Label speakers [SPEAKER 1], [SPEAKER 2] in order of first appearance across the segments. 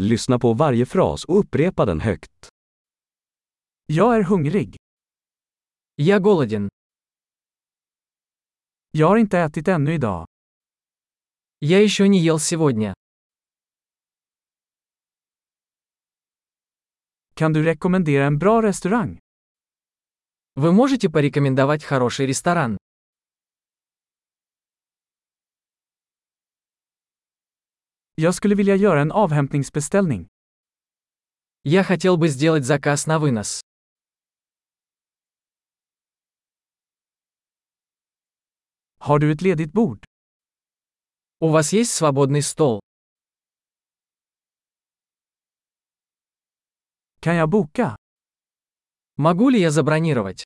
[SPEAKER 1] Lyssna på varje fras och upprepa den högt.
[SPEAKER 2] Jag är hungrig.
[SPEAKER 3] Я голоден.
[SPEAKER 2] Jag har inte ätit ännu idag.
[SPEAKER 3] Я еще не ел сегодня.
[SPEAKER 2] Kan du rekommendera en bra restaurang?
[SPEAKER 3] Вы можете порекомендовать хороший ресторан?
[SPEAKER 2] Jag skulle vilja göra en avhämtningsbeställning.
[SPEAKER 3] Я хотел бы сделать заказ на вынос.
[SPEAKER 2] Har du ett ledigt bord?
[SPEAKER 3] У вас есть свободный стол?
[SPEAKER 2] Kan jag boka?
[SPEAKER 3] Могу ли я забронировать?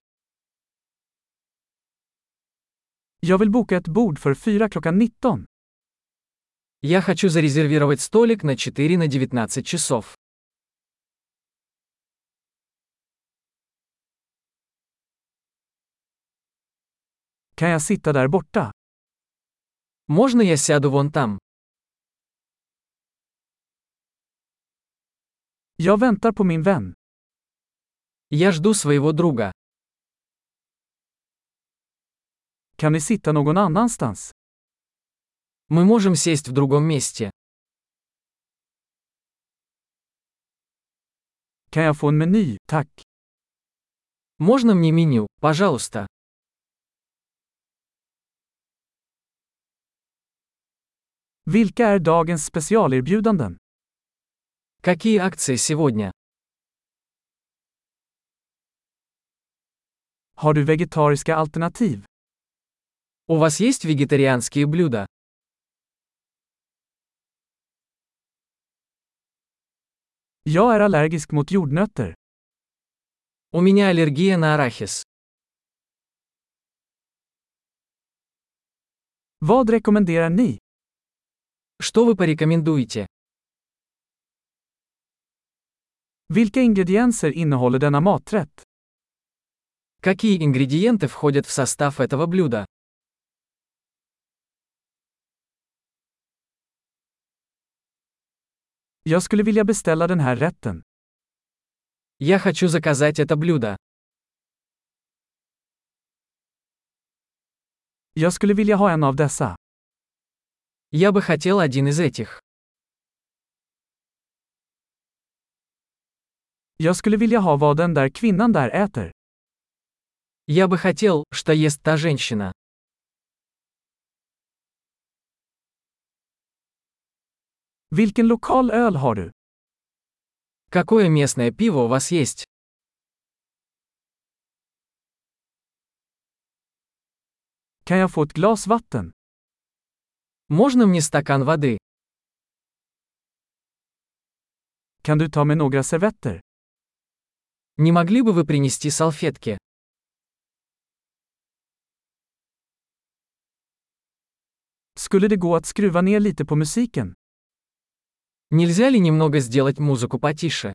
[SPEAKER 2] Jag vill boka ett bord för 4 klockan 19.
[SPEAKER 3] Я хочу зарезервировать столик на 4 на 19 часов.
[SPEAKER 2] Kan jag sitta där borta?
[SPEAKER 3] Можно я сяду вон там?
[SPEAKER 2] Jag väntar på min vän.
[SPEAKER 3] Я жду своего друга.
[SPEAKER 2] Kan vi sitta någon annanstans?
[SPEAKER 3] Мы можем сесть в другом месте.
[SPEAKER 2] Kan jag få en meny, tack?
[SPEAKER 3] Можно мне меню, пожалуйста?
[SPEAKER 2] Vilka är dagens specialerbjudanden?
[SPEAKER 3] Какие акции сегодня?
[SPEAKER 2] Har du vegetariska alternativ?
[SPEAKER 3] У вас есть вегетарианские блюда?
[SPEAKER 2] Jag är allergisk mot jordnötter.
[SPEAKER 3] У меня аллергия на арахис.
[SPEAKER 2] Vad rekommenderar ni?
[SPEAKER 3] Что вы порекомендуете?
[SPEAKER 2] Vilka ingredienser innehåller denna maträtt?
[SPEAKER 3] Какие ингредиенты входят в состав этого блюда?
[SPEAKER 2] Jag skulle vilja beställa den här rätten.
[SPEAKER 3] Я хочу заказать это блюдо.
[SPEAKER 2] Jag skulle vilja ha en av dessa.
[SPEAKER 3] Я бы хотел один из этих.
[SPEAKER 2] Jag skulle vilja ha vad den där kvinnan där äter.
[SPEAKER 3] Я бы хотел, что ест та женщина.
[SPEAKER 2] Vilken lokal öl har du?
[SPEAKER 3] Какое местное пиво у вас есть?
[SPEAKER 2] Kan jag få ett glas vatten?
[SPEAKER 3] Можно мне стакан воды?
[SPEAKER 2] Kan du ta med några servetter?
[SPEAKER 3] Не могли бы вы принести салфетки?
[SPEAKER 2] Skulle det gå att skruva ner lite på musiken?
[SPEAKER 3] Нельзя ли немного сделать музыку потише?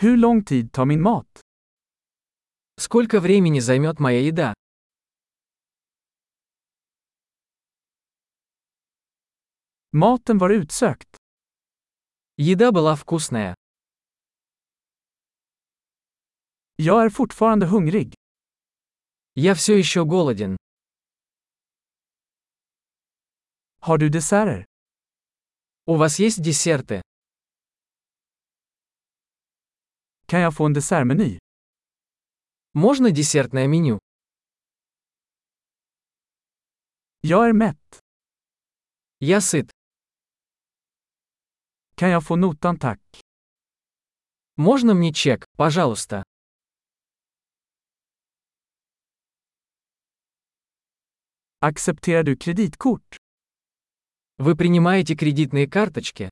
[SPEAKER 2] Hur lång tid tar min mat?
[SPEAKER 3] Сколько времени займет моя еда?
[SPEAKER 2] Maten var utsökt.
[SPEAKER 3] Еда была вкусная.
[SPEAKER 2] Jag är fortfarande hungrig.
[SPEAKER 3] Я все еще голоден.
[SPEAKER 2] Har du desserter?
[SPEAKER 3] У вас есть десерты?
[SPEAKER 2] Kan jag få en dessertmeny?
[SPEAKER 3] Можно десертное меню?
[SPEAKER 2] Jag är mätt.
[SPEAKER 3] Я сыт.
[SPEAKER 2] Kan jag få notan tack?
[SPEAKER 3] Можно мне чек, пожалуйста?
[SPEAKER 2] Accepterar du kreditkort?
[SPEAKER 3] Вы принимаете кредитные карточки?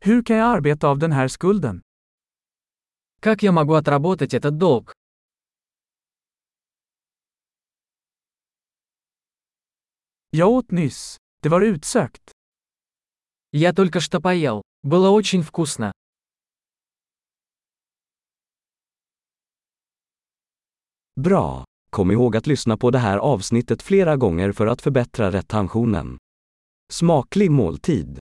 [SPEAKER 2] Hur kan jag arbeta av den här skulden?
[SPEAKER 3] Как я могу отработать этот долг?
[SPEAKER 2] Jag åt nyss. Det var utsökt.
[SPEAKER 3] Я только что поел. Было очень вкусно.
[SPEAKER 1] Bra!
[SPEAKER 2] Kom ihåg att lyssna på det här avsnittet flera gånger för att förbättra retentionen. Smaklig måltid!